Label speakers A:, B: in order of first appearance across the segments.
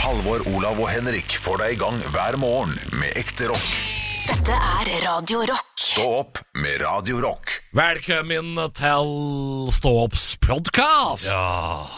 A: Halvor, Olav og Henrik får deg i gang hver morgen med ekte rock.
B: Dette er Radio Rock.
A: Stå opp med Radio Rock.
C: Velkommen til Ståopps podkast!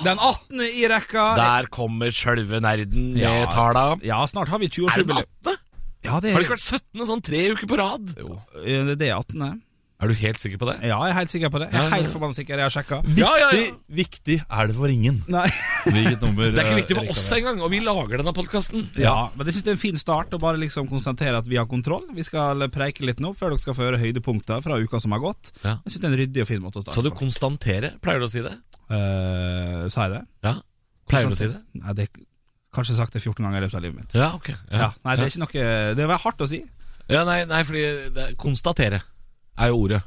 D: Den 18. i rekka
C: Der kommer sjølve nerden med
D: Ja.
C: tala.
D: Ja, snart har vi
C: Er det
D: 20-årsjubileum.
C: 18.?
D: Ja, det
C: Har det ikke vært 17. sånn tre uker på rad?
D: vært Eh, Det er 18.
C: Er du helt sikker på det?
D: Ja, jeg er helt sikker på det. Jeg er helt forbanna sikker. Jeg har sjekka.
C: Ja, ja, ja.
E: Viktig, viktig er det for ingen.
D: Nei.
E: Hvilket nummer
C: Det er ikke viktig for oss engang, og vi lager denne podkasten.
D: Ja, men jeg synes det er en fin start å bare liksom konsentrere at vi har kontroll. Vi skal preike litt nå før dere skal få høre høydepunkter fra uka som har gått.
C: Ja.
D: Jeg synes det er en ryddig og fin måte å starte
C: Skal du
D: på.
C: konstatere? Pleier du å si det?
D: Eh, sa jeg det?
C: Ja. Pleier du å si det?
D: Nei, det kanskje jeg har sagt det 14 ganger i løpet av livet mitt.
C: Ja, ok.
D: Ja, nei, det er ikke noe Det var hardt å si.
C: ja, nei, nei, fordi det, konstatere er jo ordet.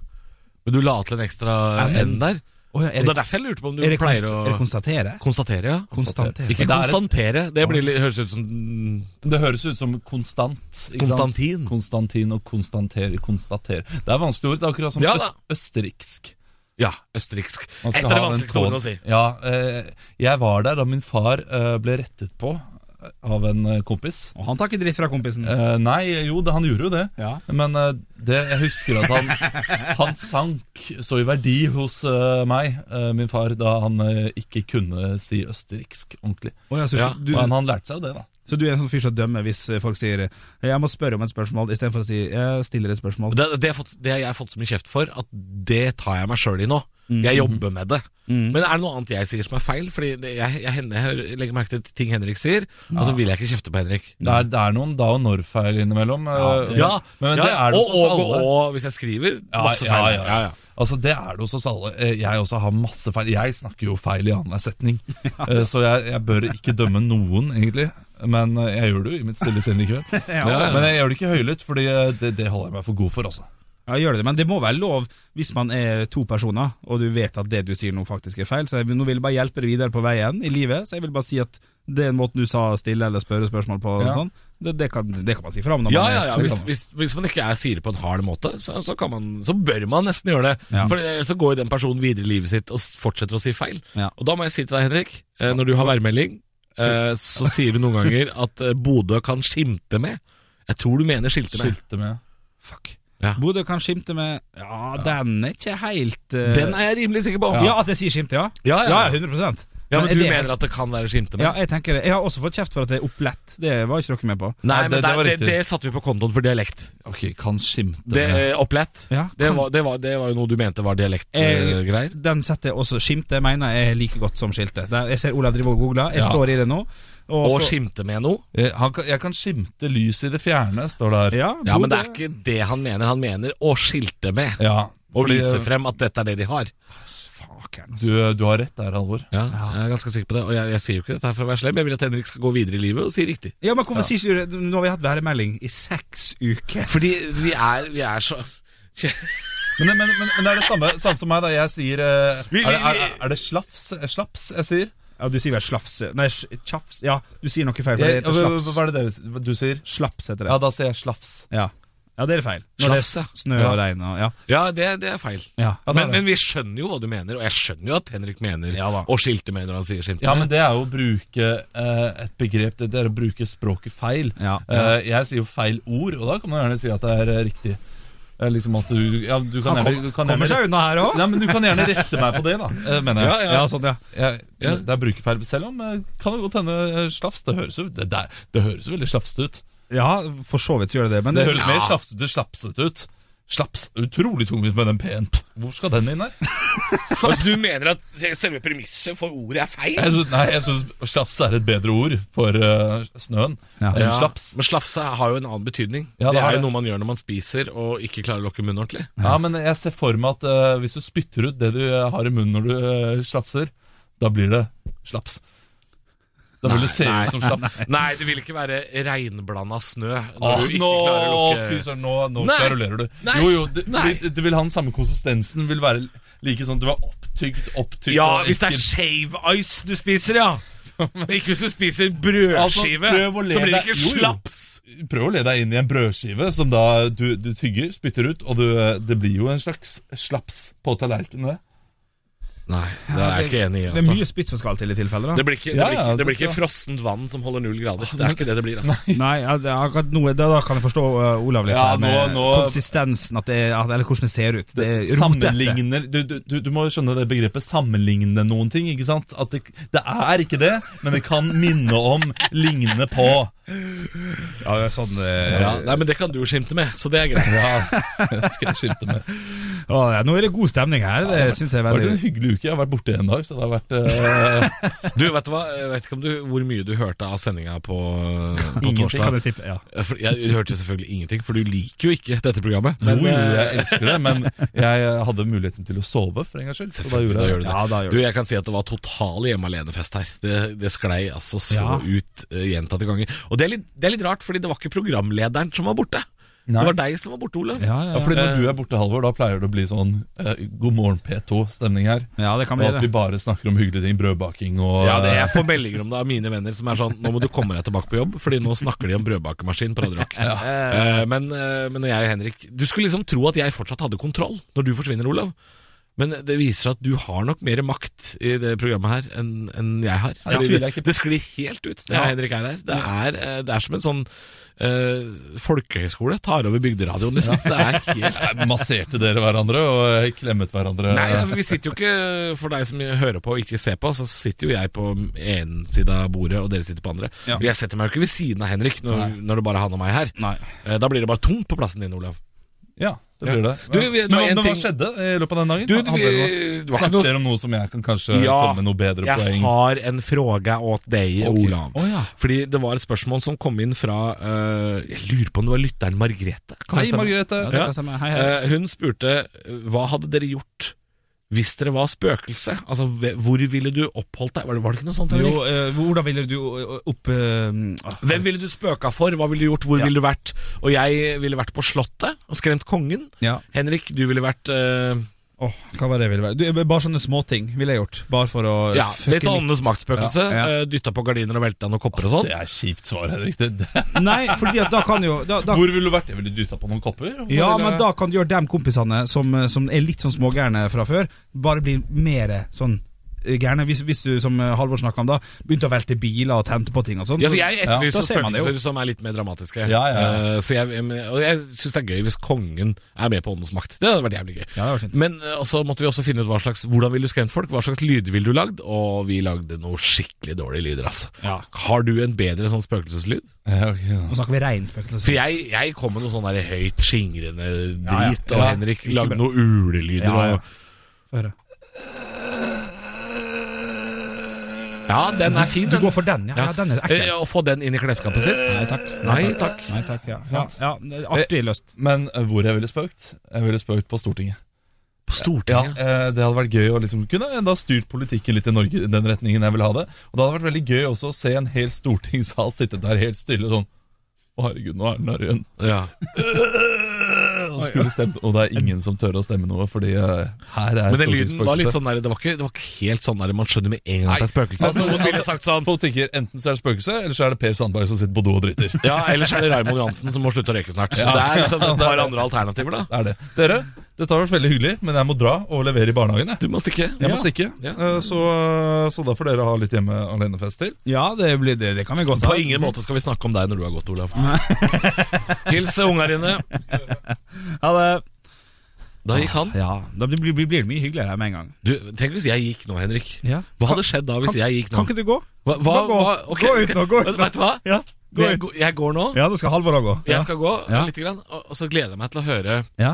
C: Men du la til en ekstra
D: Ja,
C: n
D: men-
C: der.
D: Oh, ja,
C: Og det er derfor jeg lurte på om du
D: er det,
C: pleier
D: konst-
C: å
D: er det konstatere?
C: konstatere. ja
D: Konstatere.
C: Ikke
D: Men da er det-
C: konstantere. Det blir, litt- høres ut som mm,
E: Det høres ut som konstant. ikke sant?
C: Konstantin.
E: Konstantin og konstanter, konstater. Det er vanskelig ord. Det er akkurat som
C: Ja, da.
E: øst, østerriksk.
C: Ja, østerriksk. Et
E: Man skal
C: av de
E: ha den
C: vanskeligste ordene å
E: tåen.
C: si.
E: Ja, eh, jeg var der da min far eh, ble rettet på av en eh, kompis.
D: Og han tar ikke dritt fra kompisen.
E: Eh, nei, jo, det, han gjorde jo det.
D: Ja.
E: Men eh, det, jeg husker at han, han sank så i verdi hos eh, meg, eh, min far, da han eh, ikke kunne si østerriksk ordentlig.
D: Å, ja, så,
C: Ja.
D: du,
E: Men han lærte seg jo det, da.
D: Så du er en sånn fyr som dømmer hvis folk sier 'jeg må spørre om et spørsmål', istedenfor å si 'jeg stiller et spørsmål'.
C: Det, det, har jeg fått, det har jeg fått så mye kjeft for, at det tar jeg meg sjøl i nå.
E: Mm.
C: Jeg jobber med det. Men er det noe annet jeg sier som er feil? Fordi det, jeg, jeg, hender- jeg hører- legger merke til ting Henrik sier, og så vil jeg ikke kjefte på Henrik.
E: Det er, det er noen da og når-feil innimellom. eh,
C: Ja,
E: men
C: ja,
E: det er det
C: og,
E: hos oss
C: og,
E: alle.
C: og, hvis jeg skriver,
E: Ja,
C: masse
E: ja,
C: feil.
E: ja, ja. Altså, det er det hos oss alle. Eh, Jeg også har masse feil. Jeg snakker jo feil i annenhver setning. Eh, Så jeg, jeg bør ikke dømme noen, egentlig. Men eh, jeg gjør det jo i mitt stille sinn likevel.
C: ja.
E: Men jeg gjør det ikke høylytt, Fordi eh, det, det holder jeg meg for altså. god for. Også.
D: Ja, gjør det, Men det må være lov hvis man er to personer, og du vet at det du sier nå faktisk er feil. Så jeg, vil- nå vil jeg bare hjelpe deg videre på veien i livet, så jeg vil bare si at den måten du sa stille eller spørre spørsmål på, og
E: Ja.
D: sånn, det, det, kan, det kan man si fra om. når
C: Ja,
D: man er
C: ja, ja.
D: to.
C: Hvis, hvis, hvis man ikke er sier det på en hard måte, så, så, kan man, så bør man nesten gjøre det.
D: Ja.
C: For eh, Så går jo den personen videre i livet sitt og s- fortsetter å si feil.
D: Ja.
C: Og da må jeg si til deg, Henrik, eh, når du har værmelding, eh, så sier du noen ganger at eh, Bodø kan skimte med. Jeg tror du mener skilte med.
E: Skilte med
D: Fuck.
C: Ja.
D: Bodø kan skimte med Ja, den er ikke helt eh,
C: Den er jeg rimelig sikker på.
D: ja. at jeg sier skimte, ja?
C: Ja, ja.
D: 100
C: Ja, men
D: er
C: du
D: det-
C: mener at det kan være skimte med?
D: Ja, jeg tenker det. Jeg har også fått kjeft for at det er opplett. Det var ikke dere med på.
C: Nei,
E: Nei,
C: men det,
E: det- det var
C: det,
E: riktig.
C: det satte vi på kontoen for dialekt.
E: Ok, kan skimte
C: Det,
E: med
C: eh, opplett.
D: Ja,
C: Det var, det, var, det var jo noe du mente var dialektgreier.
D: Eh,
C: Eh, greier.
D: Den setter jeg også Skimte mener jeg er like godt som skilte. Der, jeg ser Olav driver og googler. Jeg
E: Ja.
D: står i det nå.
C: og
D: så-
C: skimte med noe.
E: Eh, han kan, Jeg kan skimte lys i det fjerne, står det her.
D: Ja,
C: Ja, men det
D: Bodø-
C: er ikke det han mener. Han mener å skilte med.
E: Ja,
C: Og
E: fordi,
C: vise
E: eh,
C: frem at dette er det de har.
D: Fakeren, altså.
E: du, eh, du har rett der, Halvor.
C: Ja, Jeg er ganske sikker på det. Og jeg, jeg sier jo ikke dette her for å være slem. Jeg vil at Henrik skal gå videre i livet og si riktig.
D: Ja, men hvorfor sier du det? Nå har vi hatt værmelding i seks uker.
C: Fordi vi er, vi er så
E: Men, men, men, men det er det samme, samme som meg, da. Jeg sier eh,
C: Vi- vi-
E: Er, er, er det slaps, slaps jeg sier?
D: Ja, du sier vel slafse Nei, sj- tjafs Ja, du sier noe feil, for det
E: Jeg,
D: heter
E: hva,
D: slaps.
E: hva er det dere du sier?
D: Slaps heter det.
E: Ja, da sier jeg slaps.
D: Ja, ja det er det feil. Når
C: Slafse.
D: det er snø og
E: Ja.
D: regn og Ja.
C: Ja, det, det er feil.
D: ja.
E: Ja, det er
C: Men,
E: det.
C: men vi skjønner jo hva du mener, og jeg skjønner jo at Henrik mener
D: Ja da.
C: å skilte med når han sier skimte.
E: Ja, men det er jo å bruke eh, et begrep Det det er å bruke språket feil.
D: Ja.
E: Eh, jeg sier jo feil ord, og da kan man gjerne si at det er eh, riktig. Eh, liksom at du Ja, du kan
D: Han
E: gjerne,
D: kom,
E: du kan
D: kommer
E: gjerne
D: seg unna her òg.
E: Nei, men du kan gjerne rette meg på det, da, eh, mener jeg.
C: Ja,
D: Ja, sånn, ja.
E: Jeg,
C: Ja.
E: Det er brukerfeil. Selv om eh, kan det godt hende eh, slafs. Det høres jo det, det, er- det høres jo veldig slafsete ut.
D: Ja, for så vidt så gjør det det. Men
E: Det
D: det,
E: høres
C: Ja.
E: mer slafsete slapsete ut. Slaps. Utrolig tungvint med den P-en. Pff, Hvor skal den inn her?
C: Altså, du mener at selve premisset for ordet er
E: Jeg
C: feil?
E: synes, nei, jeg syns slafs er et bedre ord for eh, snøen
D: Ja.
E: enn slaps.
C: Men slafse har jo en annen betydning.
E: Ja,
C: det,
E: det har
C: er jo
E: det.
C: noe man gjør når man spiser og ikke klarer å lukke munnen ordentlig.
E: Ja, men jeg ser for meg at eh, hvis du spytter ut det du har i munnen når du eh, slapser, da blir det slaps. Da vil det se
C: nei,
E: ut som slaps.
C: Nei, det vil ikke være regnblanda snø når
E: Åh,
C: du ikke
E: nå,
C: klarer å
E: fy
C: lukke
E: søren, nå, nå
C: Nei.
E: klarulerer du.
C: Nei.
E: Jo, jo, du,
C: Nei.
E: fordi du vil ha den samme konsistensen. Vil være like sånn at du er opptygd, opptygd
C: Ja,
E: og
C: hvis det er
E: ikke-
C: shave ice du spiser, ja. Men ikke hvis du spiser brødskive,
E: Altså, prøv å le
C: så blir det
E: deg-
C: ikke
E: jo, jo.
C: slaps.
E: Prøv å le deg inn i en brødskive som da du, du tygger, spytter ut, og du, eh, det blir jo en slags slaps på tallerkenen. det.
C: Nei, det er jeg ikke enig i.
D: Det er
C: Altså.
D: mye spytt som skal til i tilfelle. da
C: Det blir ikke, det
E: Ja,
C: blir
E: ja,
C: ikke, det
E: det
C: blir ikke
E: skal-
C: frossent vann som holder null grader. Det er ikke det det blir. Altså.
D: Nei, ja, det er akkurat noe, da, da kan jeg forstå eh, Olav litt
E: Ja,
D: her med
E: nå- nå-
D: konsistensen, at det, er- at, eller hvordan det ser ut. Det er rotete.
E: Sammenligner du, du, du- du må skjønne det begrepet 'sammenligne noen ting'. ikke sant? At det, det er ikke det, men det kan minne om, ligne på.
D: Ja, det er sånn eh,
C: Ja, nei, men det kan du jo skimte med, så det er greit.
E: Ja, det skal jeg skifte med.
D: å, ja, Nå er det god stemning her, det synes jeg er
E: Det har vært en
D: veldig
E: hyggelig uke. Jeg har vært borte en dag, så det har vært eh,
C: Du, vet du hva? Jeg vet ikke om du, hvor mye du hørte av sendinga på, på
E: Ingenting.
C: torsdag.
D: Kan jeg tippe, ja
C: For, jeg hørte jo selvfølgelig ingenting, for du liker jo ikke dette programmet.
E: Jo, jo, jeg elsker det, men jeg hadde muligheten til å sove for en gangs skyld. Så da gjorde
C: Da
E: jeg
C: gjør du det.
D: Ja, da gjør
C: du,
D: du
C: jeg kan si at det var total hjemme alene-fest her. Det, det sklei altså så
D: Ja.
C: ut eh, gjentatte ganger. Og det er, litt, det er litt rart, fordi det var ikke programlederen som var borte. Det var deg som var borte, Olav.
D: Ja,
E: Ja, fordi
C: Eh.
E: Når du er borte, Halvor, da pleier det å bli sånn eh, God morgen P2-stemning her.
D: det kan
E: Og
D: bli
E: at vi
D: det
E: bare snakker om hyggelige ting. Brødbaking og
C: Ja, det, jeg får meldinger om det av mine venner som er sånn Nå må du komme deg tilbake på jobb, Fordi nå snakker de om brødbakemaskin på Radio Rock. Eh, men, eh, men når jeg og Henrik Du skulle liksom tro at jeg fortsatt hadde kontroll når du forsvinner, Olav. Men det viser at du har nok mer makt i det programmet her enn enn jeg har.
E: Ja, det tviler jeg ikke på.
C: Det sklir helt ut når jeg og Henrik er her. Det er, eh, det er som en sånn eh, folkehøyskole tar over bygderadioen, liksom. Det er helt
E: Eh, Masserte dere hverandre og eh, klemmet hverandre?
C: Nei, ja, vi sitter jo ikke For deg som hører på og ikke ser på, så sitter jo jeg på en side av bordet, og dere sitter på andre.
D: Ja.
C: Jeg setter meg jo ikke ved siden av Henrik når, når det bare er han og meg her.
D: Nei
C: Eh, Da blir det bare tomt på plassen din, Olav.
E: Ja, det blir det.
C: Du, vi- det var
E: men,
C: en
E: men
C: ting-
E: hva skjedde i løpet av den dagen?
C: Du, du,
E: Hadde dere noe-
C: vi- det var ikke
E: Snakket
C: noe-
E: dere om noe som jeg kan kanskje komme med noe bedre
C: jeg
E: poeng?
C: har en fråga åt deg,
E: Ok.
C: Olav.
D: Å, ja.
C: Fordi det var et spørsmål som kom inn fra eh, Jeg lurer på om det var lytteren Margrethe? Kan
E: Hei,
C: det stemme?
E: Margrethe.
D: Ja, det
E: Ja.
D: kan stemme. Hei, hei
C: Eh, Hun spurte eh, hva hadde dere gjort hvis dere var spøkelse? Altså, ve- hvor ville du oppholdt deg? Var det, var det ikke noe sånt? Henrik?
D: Jo, eh, hvordan ville du eh, opp eh, ah,
C: Hvem ville du spøka for? Hva ville du gjort? Hvor
D: Ja.
C: ville du vært? Og jeg ville vært på Slottet og skremt kongen.
D: Ja,
C: Henrik, du ville vært eh,
D: Åh, hva var det jeg ville være? Du, eh, bare sånne småting ville jeg gjort. Bare for å
C: ja,
D: fucke
C: litt åndenes maktspøkelse.
D: Ja, ja.
C: eh, dytta på gardiner og velta noen kopper og sånn.
E: Det er kjipt svar, Henrik. Det, det.
D: Nei, fordi at da kan jo da, da,
E: Hvor ville du vært? Jeg ville dytta på noen kopper. og
D: Ja,
E: bare-
D: men da kan du gjøre de kompisene som, som er litt sånn smågærne fra før, bare bli mer sånn eh, gærne. Hvis, hvis du, som eh, Halvor snakka om da, begynte å velte biler og tente på ting og sånn.
C: Ja, for
D: så-
C: jeg
D: Ja, da
C: etterlyser
D: ser man det jo.
C: spøkelser som er litt mer dramatiske.
E: Ja, ja, ja.
C: Eh, så jeg, men- og jeg syns det er gøy hvis kongen er med på åndens makt. Det hadde vært jævlig gøy.
D: Ja, det var fint.
C: Men eh, og så måtte vi også finne ut hva slags hvordan ville du skremt folk, hva slags lyder ville du lagd, og vi lagde noe skikkelig dårlige lyder, altså.
D: Ja.
C: Har du en bedre sånn spøkelseslyd?
E: Ja, Eh, ok, ja.
D: Nå snakker vi reinspøkelser.
C: For jeg, jeg kom med noe sånn der høyt skingrende drit, og
D: ja. Ja.
C: Henrik lagde noe ulelyder.
D: Ja, ja.
C: Ja,
D: Få høre.
C: ja. den er fin.
D: Du
C: den.
D: går for den, ja. ja. den er
C: Eh,
D: ekkel.
C: Å få den inn i klesskapet sitt? Nei takk. Nei, takk.
D: Nei takk, ja. ja, ja det er artig løst.
E: Men eh, hvor jeg ville spøkt? Jeg ville spøkt på Stortinget.
C: På
E: Ja,
C: Stortinget?
E: eh, Det hadde vært gøy å liksom kunne enda styrt politikken litt i Norge i den retningen jeg ville ha det. Og det hadde vært veldig gøy også å se en hel stortingssal sitte der helt stille sånn Å, herregud, nå er den der igjen.
C: Ja.
E: Og, så skulle stemt, og det er ingen som tør å stemme noe, fordi eh, her er
C: Men den lyden var litt
E: stortingsspøkelset.
C: sånn der, det var ikke, det var ikke helt sånn der man skjønner med en gang at det er spøkelse.
E: Nei,
C: Altså, noen ville sagt sånn
E: Folk tenker enten så er det spøkelse, eller så er det Per Sandberg som sitter på do og driter.
C: Ja, ellers er det Raymond Johansen som må slutte å røyke snart. Så det er liksom et par andre alternativer, da.
E: Det er det. Dere, dette har vært veldig hyggelig, men jeg må dra og levere i barnehagen. Jeg,
C: Du må stikke.
E: jeg må
C: Ja.
E: stikke, eh, så, så da får dere ha litt hjemme alenefest til.
D: Ja, det, blir, det, det kan vi godt
C: På ingen måte skal vi snakke om deg når du har gått, Olav. Hils unga dine.
D: Ha det.
C: Da gikk han.
D: Ja, da blir, blir, blir det mye hyggeligere her med en gang.
C: Du, tenk hvis jeg gikk nå, Henrik.
D: Ja.
C: Hva hadde skjedd da hvis
D: Kan-
C: jeg gikk nå?
D: Kan ikke du gå?
C: Hva, hva,
D: Bare gå.
C: hva, ok.
D: Gå ut nå, gå ut nå.
C: Vet du hva?
D: Ja, gå
C: jeg,
D: ut.
C: går- jeg går nå.
D: Ja, da skal Halvor òg gå. Ja.
C: Jeg skal gå
D: Ja.
C: litt, grann, og og så gleder jeg meg til å høre
D: ja.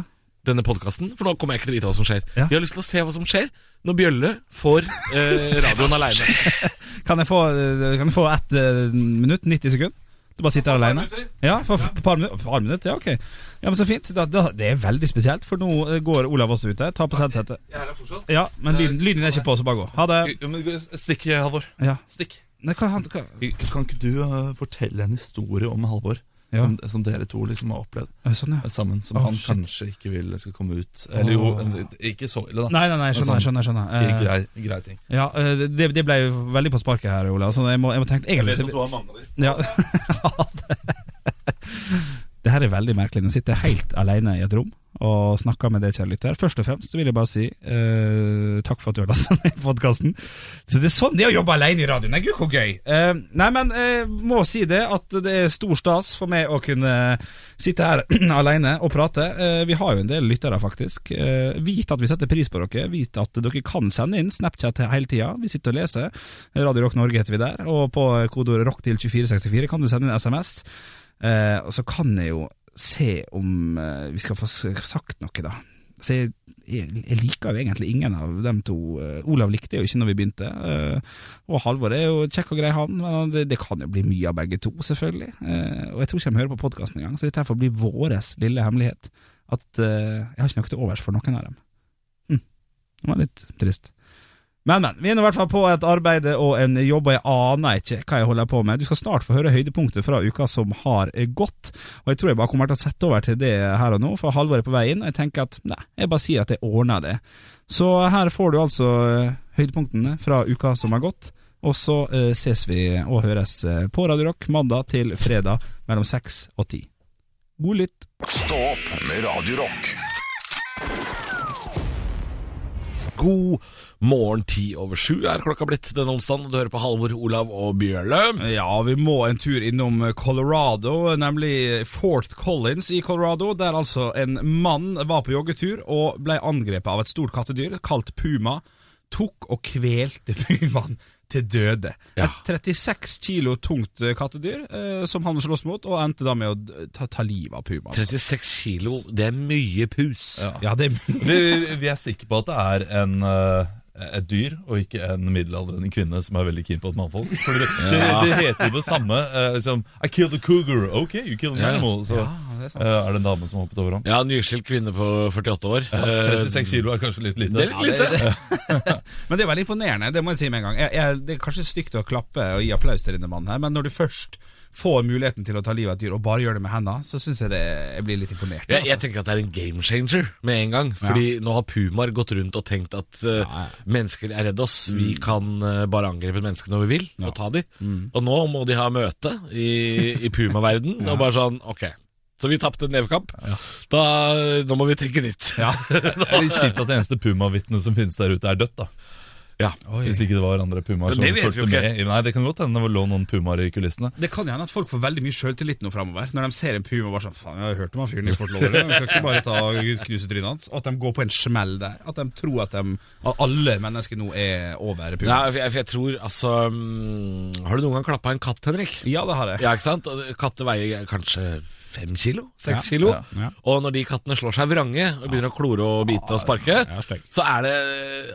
C: denne podkasten. For nå kommer jeg ikke til å vite hva som skjer.
D: Ja.
C: Jeg har lyst til å se hva som skjer når Bjølle får eh, radioen aleine.
D: Kan jeg få, eh, kan jeg få ett eh, minutt? 90 sekunder? Du bare sitter alene? Ja, for f- par minutter. Par minutter, ja, ok. Ja, men Så fint. Da, da, det er veldig spesielt, for nå eh, går Olav også ut her. Ta på seg headsetet. Ja, men lyden, lyden er ikke på, så bare gå. Ha det.
E: Ja, men Stikk, Halvor.
D: Ja.
E: Stikk.
D: Nei, hva, han, hva?
E: Kan ikke du eh, fortelle en historie om Halvor?
D: Ja.
E: Som, som dere to liksom har opplevd
D: Sånn, Eh, Sånn,
E: eh,
D: ja.
E: sammen. Som
D: Å,
E: han
D: shit.
E: kanskje ikke vil skal komme ut. Eller jo, eh, ikke så ille, da.
D: Nei, nei, nei, jeg skjønner. jeg skjønner, jeg
E: Ikke
D: skjønner. Eh,
E: grei, grei ting.
D: ja, eh, det, det ble jo veldig på sparket her, Olav. Så jeg må, jeg må tenke egentlig så-
E: har mange av dem.
D: Ja. det her er veldig merkelig. Nå sitter jeg helt alene i et rom og snakka med deg, kjære lytter. Først og fremst så vil jeg bare si eh, takk for at du har lasta ned podkasten. Så det er sånn det er å jobbe alene i radioen. Nei, gud, hvor gøy! Eh, nei, men jeg må si det at det er stor stas for meg å kunne sitte her alene og prate. Eh, vi har jo en del lyttere, faktisk. Eh, vit at vi setter pris på dere. Vit at dere kan sende inn Snapchat hele tida. Vi sitter og leser. Radio Rock Norge heter vi der. Og på kodeordet rock til 2464 kan du sende inn SMS. Eh, og så kan jeg jo se om eh, vi skal få s- sagt noe, da. Så jeg, jeg, jeg liker jo egentlig ingen av dem to. Eh, Olav likte jeg jo ikke når vi begynte. Eh, og Halvor er jo kjekk og grei, han. Men det, det kan jo bli mye av begge to, selvfølgelig. Eh, og jeg tror ikke de hører på podkasten engang, så dette her får bli vår lille hemmelighet. At eh, jeg har ikke noe til overs for noen av dem. Hm. Det var litt trist. Men, men. Vi er nå i hvert fall på et arbeid og en jobb, og jeg aner ikke hva jeg holder på med. Du skal snart få høre høydepunktet fra uka som har eh, gått, og jeg tror jeg bare kommer til å sette over til det her og nå, for Halvor er på vei inn, og jeg tenker at nei, jeg bare sier at jeg ordner det. Så her får du altså eh, høydepunktene fra uka som har gått, og så eh, ses vi og høres eh, på Radio Rock mandag til fredag mellom seks og ti. God lytt!
A: Stå opp med Radio Rock.
C: God morgen, ti over sju er klokka blitt denne onsdagen. Du hører på Halvor, Olav og Bjørle.
D: Ja, vi må en tur innom Colorado, nemlig Fort Collins i Colorado, der altså en mann var på joggetur og ble angrepet av et stort kattedyr kalt puma, tok og kvelte pumaen til døde.
C: Ja.
D: Et 36 kilo tungt eh, kattedyr eh, som han slåss mot, og endte da med å d- ta, ta livet av pumaen.
C: 36 kilo, det er mye pus.
D: Ja, det
E: Vi, vi er sikre på at det er en eh, et dyr, og ikke en middelaldrende kvinne som er veldig keen på et mannfolk. For det, det, det heter jo det samme. eh, liksom, I killed a cougar. Ok, you killed an
C: Ja.
E: animal. Så
D: det er sant.
E: eh, er det en dame som har hoppet over ham.
C: Ja, nyskilt kvinne på 48 år. Eh,
E: 36 kilo er kanskje litt lite.
C: Det er litt lite.
D: Men det er veldig imponerende, det må jeg si med en gang. Jeg, jeg, det er kanskje stygt å klappe og gi applaus til denne mannen her, men når du først får muligheten til å ta livet av et dyr, og bare gjør det med hendene, så syns jeg det, jeg blir litt imponert.
C: Jeg, jeg tenker at det er en game changer med en gang. Fordi nå har pumaer gått rundt og tenkt at eh, mennesker er redd oss. Vi
D: Mm.
C: kan eh, bare angripe mennesker når vi vil, og ta de. Og nå må de ha møte i, i pumaverden og bare sånn Ok, så vi tapte en nevekamp. Da, nå må vi tenke nytt.
D: Ja.
E: Det er litt kjipt at det eneste pumavitnet som finnes der ute, er dødt. da
C: Ja.
E: Hvis ikke det var andre pumaer som
C: Det vet vi jo
E: fulgte
C: ikke.
E: med. Nei, Det kan godt hende det lå noen pumaer i kulissene.
D: Det kan jo hende at folk får veldig mye sjøltillit nå framover, når de ser en puma og bare sånn Faen, jeg har hørt om han fyren i Fort Lauderdale, jeg skal ikke bare ta og knuse trynet hans. At de går på en smell der. At de tror at, de, at alle mennesker nå er over
C: Ja,
D: puma.
C: for jeg, for jeg tror altså mm, Har du noen gang klappa en katt, Henrik?
D: Ja, det har jeg.
C: Ja, ikke sant? Og Katter veier kanskje fem kilo, seks
D: Ja,
C: kilo.
D: ja, ja.
C: Og når de kattene slår seg vrange og begynner å klore og bite og sparke,
D: ja, stygg.
C: så er det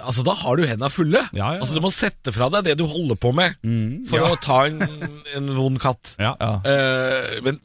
C: Altså, da har du henda fulle.
D: Ja, ja, ja.
C: Altså, du må sette fra deg det du holder på med
E: Mm,
C: for å ta en, en vond katt.
D: Ja. Ja.
C: Eh, men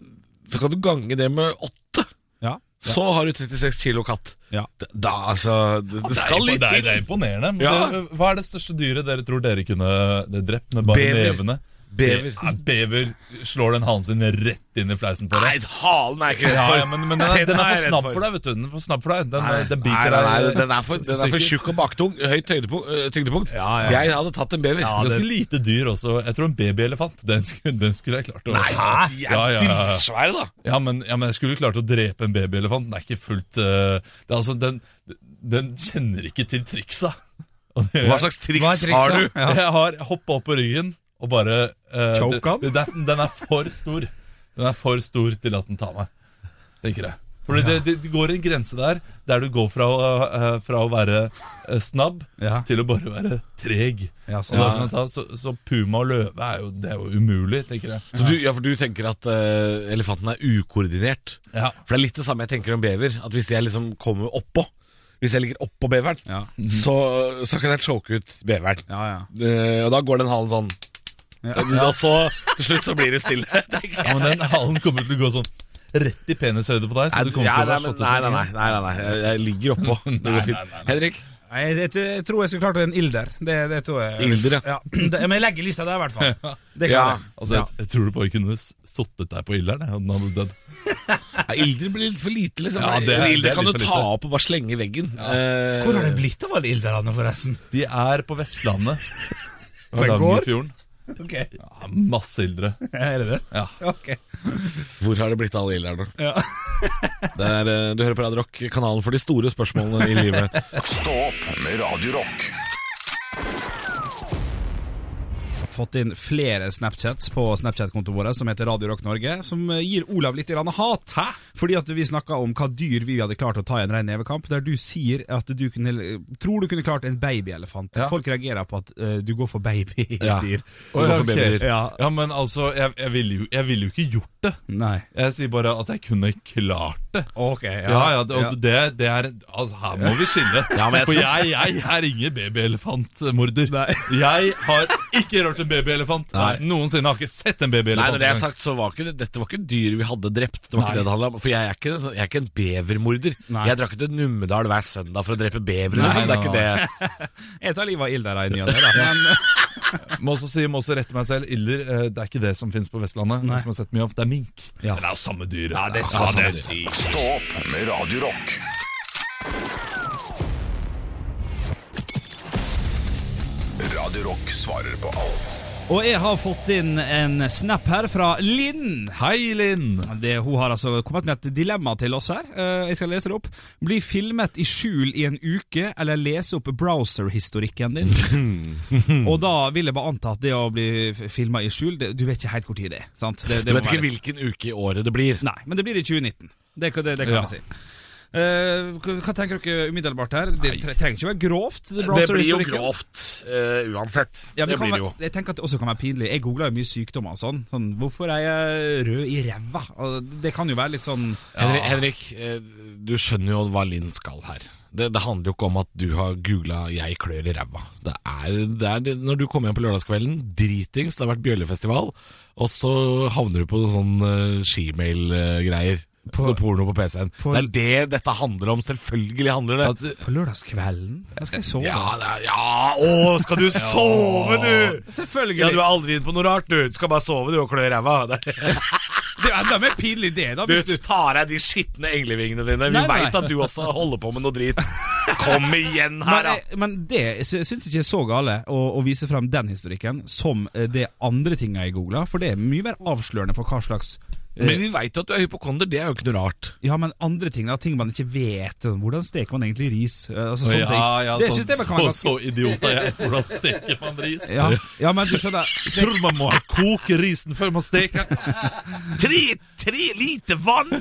C: så kan du gange det med åtte.
D: Ja.
C: Så har du 36 kilo katt.
D: Ja.
C: Da, da altså Det, det skal
E: det,
C: litt
E: er, det
C: til.
E: er imponerende. Men
C: Ja.
E: det, hva er det største dyret dere tror dere kunne drept med bare
C: Bever.
E: nevene?
C: Bever.
E: Ja, bever slår den halen sin rett inn i fleisen på
C: Nei,
E: deg.
C: halen er jeg ikke redd
E: Ja,
C: for.
E: ja, men, men den, er, den
C: jeg
E: er for
C: redd
E: snabb for deg, vet du. Den er for snabb for deg. Den,
C: Nei,
E: den
C: nei,
E: biter
C: nei,
E: deg.
C: nei, den er for, den er for tjukk og baktung. Høyt høydepunkt, øh, tyngdepunkt.
D: Ja, ja.
C: Jeg hadde tatt en bever.
E: Ja,
C: så
E: ganske
C: ganske
E: lite dyr også. Jeg tror en babyelefant, den skulle, den skulle jeg klart å
C: Nei, de er
E: Ja, ja, ja.
C: dritsvære, da.
E: Ja men, ja, men jeg skulle klart å drepe en babyelefant. Den er ikke fullt eh, det, er altså, den, den kjenner ikke til triksa. Og det gjør
C: Hva
E: jeg.
C: slags
D: Hva er
C: triks
D: trikset?
C: har du?
D: Ja.
E: Jeg har hoppa opp på ryggen og bare eh,
D: Choke
E: det-
D: han?
E: det- Den, den er for stor. Den er for stor til at den tar meg, tenker jeg. Fordi det, det, det går en grense der der du går fra å, eh, fra å være eh, snabb
D: Ja.
E: til å bare være treg.
D: Ja,
E: Og
D: sånn.
E: da kan den ta, så, så puma og løve er jo, det er jo umulig, tenker jeg.
C: Så du, ja, for du tenker at øh, elefanten er ukoordinert.
E: Ja.
C: For det er litt det samme jeg tenker om bever. At hvis jeg liksom kommer oppå Hvis jeg ligger oppå beveren,
D: Ja.
C: så, så kan jeg choke ut beveren.
D: Ja, ja.
C: Eh, og da går den halen sånn.
D: Ja.
C: Og så til slutt så blir det stille. tenker jeg.
E: Ja, men den halen kommer til å gå sånn rett i penishøyde på deg. Så du kommer
C: Ja,
E: til
C: nei,
E: å være
C: men,
E: slått ut
C: nei,
E: av
C: nei, nei,
E: ringen.
C: nei, nei. Jeg, jeg ligger oppå. Det går fint. Henrik?
D: Nei, jeg, jeg, jeg tror jeg skulle klart en ilder. Det, det tror jeg.
C: Ilder, ja.
D: ja. Det, men jeg legger lista der, i hvert fall. Det kan
C: Ja.
D: jeg.
E: Altså, jeg, jeg tror du bare kunne s- sottet deg på ilderen, jeg, og den hadde dødd.
C: Ja, ilder blir litt for lite, liksom.
E: Ja, det er-
C: En
E: det er
C: ilder
E: litt
C: kan du
E: for
C: ta
E: lite.
C: opp og bare slenge i veggen. Eh,
D: Hvor har det blitt av alle ilderne, forresten?
E: De er på Vestlandet.
D: På en gård?
E: Hardangerfjorden.
D: Ok,
E: Ja, masse ildre.
D: Er det det?
E: Ja.
D: Ok.
C: hvor har det blitt av alle ilderne?
D: Ja.
C: Det er, eh, du hører på Radio Rock, kanalen for de store spørsmålene i livet.
A: Stå opp med Radio Rock.
D: fått inn flere Snapchats på Snapchat-kontoen vår som heter Radio Rock Norge, som eh, gir Olav litt grann hat.
E: Hæ?
D: Fordi at vi snakka om hva dyr vi hadde klart å ta i en rein nevekamp, der du sier at du kunne, tror du kunne klart en babyelefant.
E: Ja.
D: Folk reagerer på at eh, du går for babydyr.
C: Ja.
E: Å, ja,
C: Hvorfor
E: ok.
C: babydyr?
E: ja. men altså, jeg, jeg, ville jo, jeg ville jo ikke gjort det.
D: Nei.
E: Jeg sier bare at jeg kunne klart det.
D: Ok,
E: Ja, ja, det, og det, det er altså, Her må vi skille. For jeg, jeg er ingen babyelefantmorder.
D: Nei.
E: Jeg har ikke rørt en babyelefant.
C: Nei.
E: Noensinne har jeg ikke sett en
C: Nei,
E: babyelefant.
C: når det er
E: engang.
C: sagt, så var ikke det, dette var ikke dyr vi hadde drept. Det var
E: Nei.
C: ikke det det handla om. For jeg er ikke, en sånn- jeg er ikke en bevermorder.
D: Nei.
C: Jeg drakk ikke til Numedal hver søndag for å drepe bevere.
E: Nei,
C: Liksom. Det er
E: nei,
C: ikke det.
D: Jeg tar livet av Ildar i ny og ne, da. Men,
E: Må også si, må også rette meg selv. Iller, eh, det er ikke det som finnes på Vestlandet.
D: Nei.
E: Som jeg har sett mye av, Det er mink.
D: Ja.
E: Men det er jo samme dyr. Ja,
C: det er samme dyr.
A: Stå opp med Radio Rock. Radio Rock svarer på alt.
D: og jeg har fått inn en snap her fra Linn.
E: Hei, Linn!
D: Det, hun har altså kommet med et dilemma til oss her. Eh, jeg skal lese det opp. Bli filmet i skjul i en uke, eller lese opp browser-historikken din. og da vil jeg bare anta at det å bli filma i skjul det, Du vet ikke helt hvor tid det er. sant? Det,
C: Du
D: det
C: vet
D: må
C: ikke
D: være-
C: hvilken uke i året det blir.
D: Nei, men det blir i 2019. Det, kan- det, det kan
E: Ja.
D: jeg si. Eh, hva hva tenker dere umiddelbart her? Det tre- trenger ikke å være grovt. Det, browser-historikken.
C: grovt uansett.
D: Ja, men eh, det kan være, jeg tenker at det også kan være pinlig. Jeg googler jo mye sykdommer og sånn. sånn. Hvorfor er jeg rød i ræva? Og Det kan jo være litt sånn
C: Henrik, Henrik, eh, du skjønner jo hva Linn skal her. Det, det handler jo ikke om at du har googla 'jeg klør i ræva'. Det er, det er det, Når du kommer hjem på lørdagskvelden, dritings, det har vært bjøllefestival, og så havner du på sånn uh, gmail-greier. På, noe porno på PC-en.
D: på-
C: det er det dette handler om. Selvfølgelig handler det.
D: På lørdagskvelden? Da skal jeg sove.
C: ja, det er, ja, å, skal du sove, du!
D: Selvfølgelig.
C: Ja, Du er aldri inne på noe rart, du. Du skal bare sove, du, og klø i ræva. Det er-
D: Det er jo enda mer pinlig det, da. Hvis
C: Du
D: du...
C: tar av deg de skitne englevingene dine. Vi
D: Nei, nei.
C: veit at du også holder på med noe drit. Kom igjen her,
D: Men,
C: da!
D: eh, men det sy- syns ikke jeg er så gale å, å vise frem den historikken som eh, det andre tinga jeg googla, for det er mye mer avslørende for hva slags eh,
C: Men vi veit jo at du er hypokonder, det er jo ikke noe rart.
D: ja, men andre ting, da, ting man ikke vet. sånn, Hvordan steker man egentlig ris? eh, Altså, sånne ting.
E: Ja, ja,
D: det
E: sånn-
D: syns jeg bare kan være
E: så, så idiot er jeg. Hvordan steker man ris?
D: ganske ja, ja, men du skjønner
E: Jeg tror man må koke risen før man steker.
C: Tre, tre liter vann!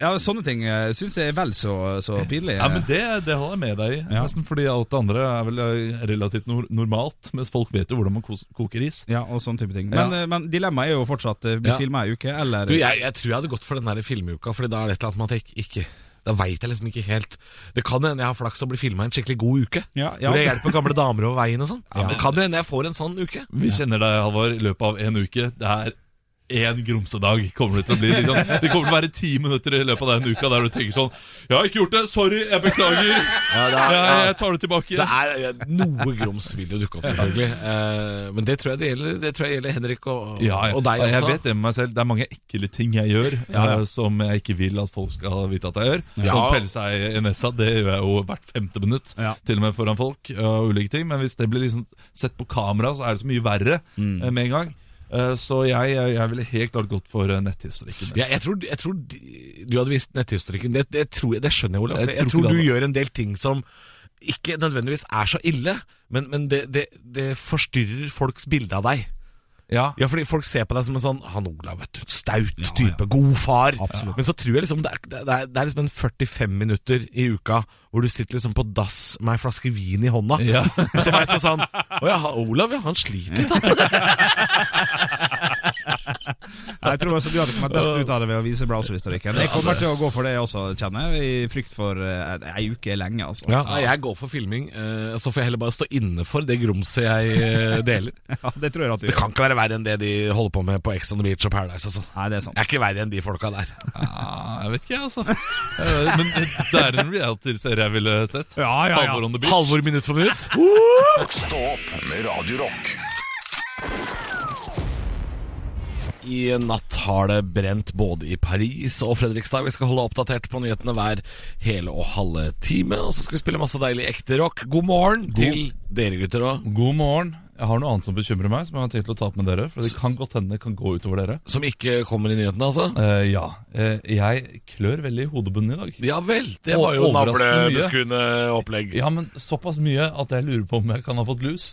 D: Ja, Sånne ting eh, syns jeg er vel så, så pinlig. eh.
E: Ja, men Det, det holder jeg med deg i.
D: Ja.
E: Nesten fordi alt det andre er vel eh, relativt nor normalt. Mens folk vet jo hvordan man kos- koker ris.
D: Ja, og sånne type ting. Men,
E: Ja.
D: eh, men dilemmaet er jo fortsatt eh, bli
C: Ja.
D: filma ei uke, eller
C: Du, jeg, jeg tror jeg hadde gått for den der filmuka, Fordi da er det et eller annet med at jeg ikke- ikke Da veit jeg liksom ikke helt Det kan hende jeg har flaks og blir filma en skikkelig god uke.
D: Ja, ja.
C: Hvor jeg hjelper gamle damer over veien og sånn. Det kan jo hende jeg får en sånn uke.
E: Vi kjenner deg, Halvor, i løpet av en uke. Det er én grumsedag kommer det til å bli. Liksom. Det kommer til å være ti minutter i løpet av den uka der du tenker sånn Jeg har ikke gjort det! Sorry! Jeg beklager!
C: det er-
E: Jeg, jeg tar det tilbake.
C: Det er, Noe grums vil jo dukke opp, selvfølgelig. Eh, men det tror jeg det gjelder, det tror jeg gjelder Henrik og,
E: Ja, ja.
C: og deg også.
E: Jeg vet det med meg selv. Det er mange ekle ting jeg gjør eh, som jeg ikke vil at folk skal vite at jeg gjør.
C: Ja.
E: Som pelle seg i nesa, det gjør jeg jo hvert femte minutt.
D: Ja.
E: Til og med foran folk eh, og ulike ting. Men hvis det blir liksom sett på kamera, så er det så mye verre
C: Mm.
E: eh, med en gang. Eh, Så jeg, jeg, jeg ville helt klart gått for eh, netthistorikken.
C: Ja, jeg tror, jeg tror de- du hadde vist netthistorikken. Det, det, tror jeg, det skjønner jeg, Olav.
E: Jeg
C: for Jeg, jeg
E: tror
C: tror,
E: ikke
C: du
E: det
C: gjør en del ting som ikke nødvendigvis er så ille, men, men det, det, det forstyrrer folks bilde av deg.
E: Ja.
C: Ja, fordi folk ser på deg som en sånn Han Olav, vet du. Staut type. God far.
D: Absolutt.
C: Men så tror jeg liksom det er, det er, det er liksom en 45 minutter i uka hvor du sitter liksom på dass med ei flaske vin i hånda.
E: Ja.
C: Og så er jeg sånn sånn Å ja, Olav, ja. Han sliter litt, han.
D: Nei, Jeg tror også du hadde kommet best ut av det ved å vise browserhistorikken. Jeg kommer til å gå for det jeg også, kjenner jeg. I frykt for eh, ei uke er lenge, altså.
C: Nei, jeg går for filming. eh, Så får jeg heller bare stå inne for det grumset jeg eh, deler.
D: Ja, det tror jeg at du
C: Det
D: gjør.
C: kan ikke være verre enn det de holder på med på Ex on the Beach og Paradise. Altså.
D: Nei, det er sant.
C: Jeg er ikke verre enn de folka der.
E: Ah, jeg vet ikke, jeg, altså. Eh, Men det er en reality-serie jeg ville sett.
D: Ja, ja, ja.
E: Halvor on the beach.
C: Halvor minutt for minutt.
A: Stå opp med Radio Rock.
C: I natt har det brent både i Paris og Fredrikstad. Vi skal holde oppdatert på nyhetene hver hele og halve time. Og så skal vi spille masse deilig ekte rock. God morgen til dere gutter òg.
E: God morgen. Jeg har noe annet som bekymrer meg, som jeg har tenkt å ta opp med dere. For det kan godt hende det kan gå utover dere.
C: Som ikke kommer i nyhetene, altså?
E: Eh, ja. Eh, jeg klør veldig i hodebunnen i dag.
C: Ja vel, det
E: Og
C: var jo
E: overraskende mye.
C: navlebeskuende opplegg.
E: Ja, men såpass mye at jeg lurer på om jeg kan ha fått lus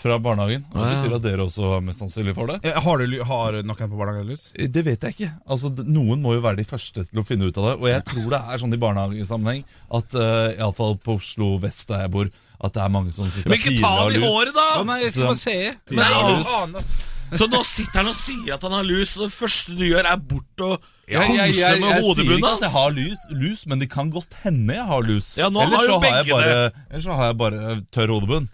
E: fra barnehagen. Og Det
C: Ah, ja.
E: betyr at dere også er mest sannsynlig for det.
D: Eh, Har, du, lu- har noen på barnehagen lus?
E: Eh, Det vet jeg ikke. Altså, d- Noen må jo være de første til å finne ut av det. Og jeg tror det er sånn i barnehagesammenheng at eh, i alle iallfall på Oslo vest der jeg bor, at det er mange som syns det
C: Men
E: er
C: ikke
E: pinlig
C: ta
E: å ha
C: det i
E: lus.
C: håret,
D: Å
C: da!
D: nei, jeg skal bare se.
E: Nei,
D: Nei,
E: lus.
D: faen. altså.
C: Så nå sitter han og sier at han har lus, og det første du gjør, er bort og
E: Jeg, jeg, jeg, jeg,
C: kose med
E: sier
C: hodebunnen
E: ikke at jeg
C: hans.
E: har lus, lus, men det kan godt hende jeg har lus.
C: Ja, nå
E: Ellers
C: har jo
E: så jeg
C: begge
E: bare, Ellers så har jeg bare tørr hodebunn.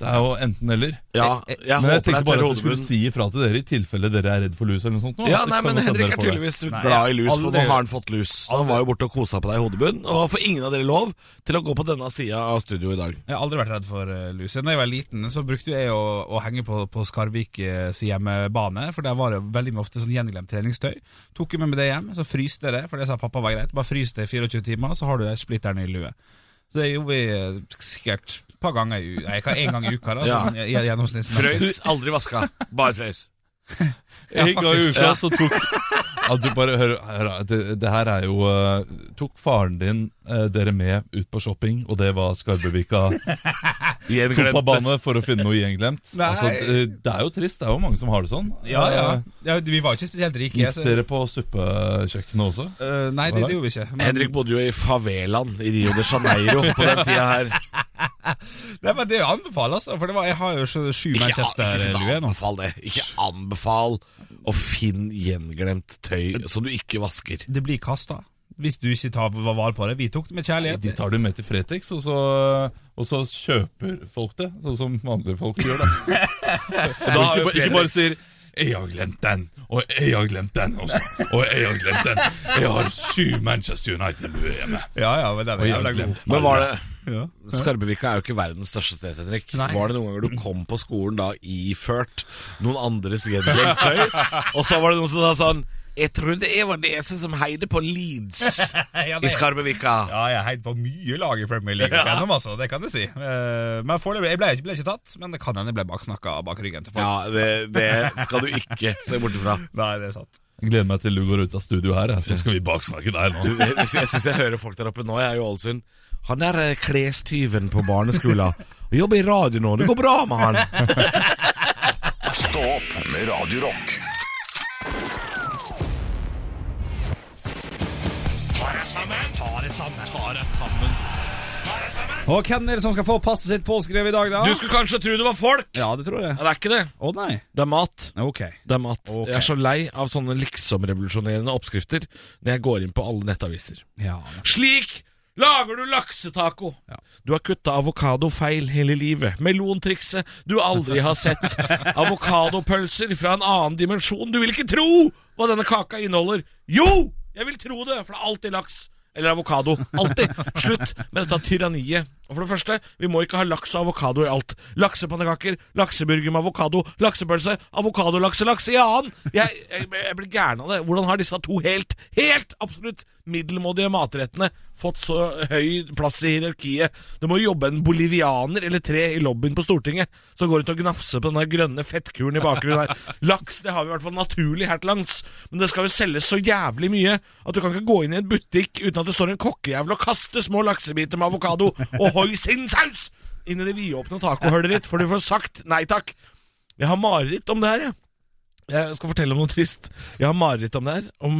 E: Det er jo enten eller.
C: Ja,
E: men jeg
C: håper det
E: tenkte
C: er
E: bare
C: tørr
E: at jeg skulle
C: hodebunn.
E: si ifra til dere i tilfelle dere er redd for lus eller noe sånt. nå,
C: Ja,
E: at det
C: nei,
E: kan
C: men
E: godt
C: Henrik
E: hende dere
C: er
E: får det.
C: tydeligvis
D: Nei,
C: glad i lus, for nå
D: aldri-
C: har han fått lus. Han var jo borte og kosa på deg i hodebunnen, og får ingen av dere lov til å gå på denne sida av studio i dag.
D: Jeg har aldri vært redd for eh, lus. Da jeg var liten, så brukte jeg å, å henge på, på Skarvik eh, sin hjemmebane. For der var det veldig mye ofte sånn gjenglemt treningstøy. Tok jeg med meg det hjem, så fryste jeg det, for det sa pappa var greit. Bare frys det i 24 timer, så har du den splitteren i lue. Så det gjorde vi eh, sikkert et par ganger i u- Nei, hva- en gang i uka, da.
C: Ja.
D: Sånn, i- i- gjennomsnittsmessig.
C: Frøys, aldri vaska. Bare frøys.
E: En gang i
D: faktisk.
E: uka så tok ja, du bare, hør, hør, da, det, det her er jo eh, Tok faren din eh, dere med ut på shopping, og det var Skarbevika fotballbane for å finne noe gjenglemt?
D: Nei.
E: Altså, det, det er jo trist. Det er jo mange som har det sånn.
D: Ja, ja.
E: Eh,
D: ja. Vi var ikke spesielt rike.
E: Gikk
D: så-
E: dere på suppekjøkkenet også?
D: Eh, nei, det, det gjorde vi ikke. Men-
C: Henrik bodde jo i favelaen i Rio de Janeiro på den tida her.
D: Nei, men Det anbefales, altså, for det var, jeg har jo sju- sju
C: Ikke, ikke sitt og
D: Manchester-luer nå.
C: anbefal det. Ikke anbefal å finne gjenglemt tøy som du ikke vasker.
D: Det blir kasta hvis du ikke tar vare på det. Vi tok det med kjærlighet.
E: De tar du med til Fretex, og så, og så kjøper folk det. Sånn som vanlige folk gjør, da.
C: Da har
E: ikke,
C: jo
E: ba- ikke bare
C: Fretex-
E: sier 'Jeg har glemt den, og jeg har glemt den også, og jeg har glemt den'. Jeg har syv Manchester United-luer hjemme.
D: Ja, ja, men det var
E: Og jeg har
D: jævla god.
E: glemt
C: Men var det
D: Ja.
C: Skarbevika er jo ikke verdens største sted, Henrik.
D: Nei.
C: Var det noen ganger du kom på skolen da iført noen andres gjenglemt tøy, og så var det noen som sa sånn Jeg trodde jeg var det eneste som heide på Leeds
D: Ja,
C: i
D: det-
C: Skarbevika.
D: Ja, jeg heit på mye lag i Premier League opp igjennom, altså. Det kan jeg si. Eh, Men foreløpig jeg ble, jeg ble ikke tatt, men det kan hende jeg ble baksnakka bak ryggen til folk.
C: Ja, det, det skal du ikke se bort ifra.
D: Nei, det er sant.
E: Jeg gleder meg til du går ut av studio her, så skal vi baksnakke deg nå.
C: Du, Jeg, jeg sy- jeg syns jeg hører folk der oppe nå. Jeg er jo i Ålesund. Han er eh, klestyven på barneskolen. Han Jobber i radio nå. Det går bra med han.
A: Stå opp med Radio Rock.
D: Og hvem er det som skal få passet sitt påskrevet i dag, da?
C: Du skulle kanskje tro det var folk.
D: Ja, det tror jeg.
C: Ja, det er ikke det.
D: Å nei.
C: Det er mat.
D: Ok.
C: Det er mat.
D: Ok.
C: Jeg er så lei av sånne liksom-revolusjonerende oppskrifter når jeg går inn på alle nettaviser.
D: Ja,
C: Slik lager du laksetaco. Du har kutta avokado feil hele livet. Melontrikset du aldri har sett. Avokadopølser fra en annen dimensjon. Du vil ikke tro hva denne kaka inneholder. Jo, jeg vil tro det, for det er alltid laks. Eller avokado. Alltid. Slutt med dette tyranniet. Og for det første, vi må ikke ha laks og avokado i alt. Laksepannekaker, lakseburger med avokado, laksepølse, avokadolakselaks i annen. Jeg, jeg, jeg blir gæren av det. Hvordan har disse to helt, helt absolutt middelmådige matrettene fått så høy plass i hierarkiet? Det må jo jobbe en bolivianer eller tre i lobbyen på Stortinget som går ut og gnafser på den der grønne fettkuren i bakgrunnen her. Laks det har vi i hvert fall naturlig her til lands, men det skal jo selges så jævlig mye at du kan ikke gå inn i en butikk uten at det står en kokkejævel og kaster små laksebiter med avokado og hoi sin saus inn i det vidåpne tacohølet ditt, for du får sagt nei takk. Jeg har mareritt om det her, jeg. Jeg skal fortelle om noe trist. Jeg har mareritt om det her. Om,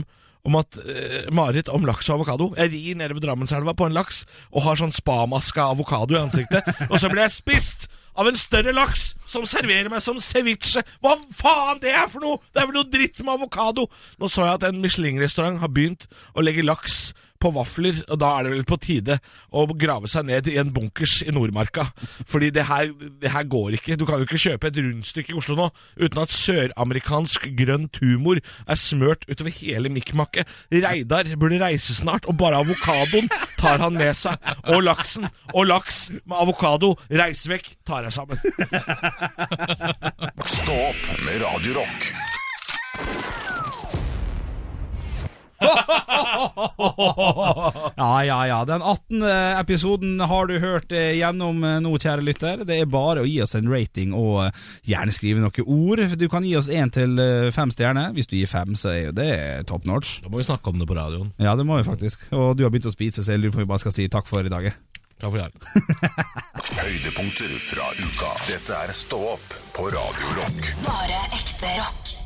C: om at eh, Mareritt om laks og avokado. Jeg rir nede ved Drammenselva på en laks og har sånn spamaska avokado i ansiktet. og så blir jeg spist av en større laks som serverer meg som ceviche. Hva faen det er for noe?! Det er vel noe dritt med avokado! Nå så jeg at en Michelin-restaurant har begynt å legge laks på vafler, og da er det vel på tide å grave seg ned i en bunkers i Nordmarka. Fordi det her, det her går ikke. Du kan jo ikke kjøpe et rundstykke i Oslo nå uten at søramerikansk grønn tumor er smørt utover hele mikkmakket. Reidar burde reise snart, og bare avokadoen tar han med seg. Og laksen. Og laks med avokado. Reis vekk, tar jeg sammen.
A: Stå opp med Radio Rock.
D: Ja, ja, ja. Den 18. episoden har du hørt eh, gjennom eh, nå, kjære lytter. Det er bare å gi oss en rating og eh, gjerne skrive noen ord. Du kan gi oss én til eh, fem stjerner. Hvis du gir fem, så er jo det top notch.
C: Da må vi snakke om det på radioen.
D: Ja, det må vi faktisk. Og du har begynt å spise, så jeg lurer på om vi bare skal si takk for i dag. jeg.
C: Takk for i dag.
A: Høydepunkter fra uka. Dette er Stå opp på Radio Rock.
B: Bare ekte rock.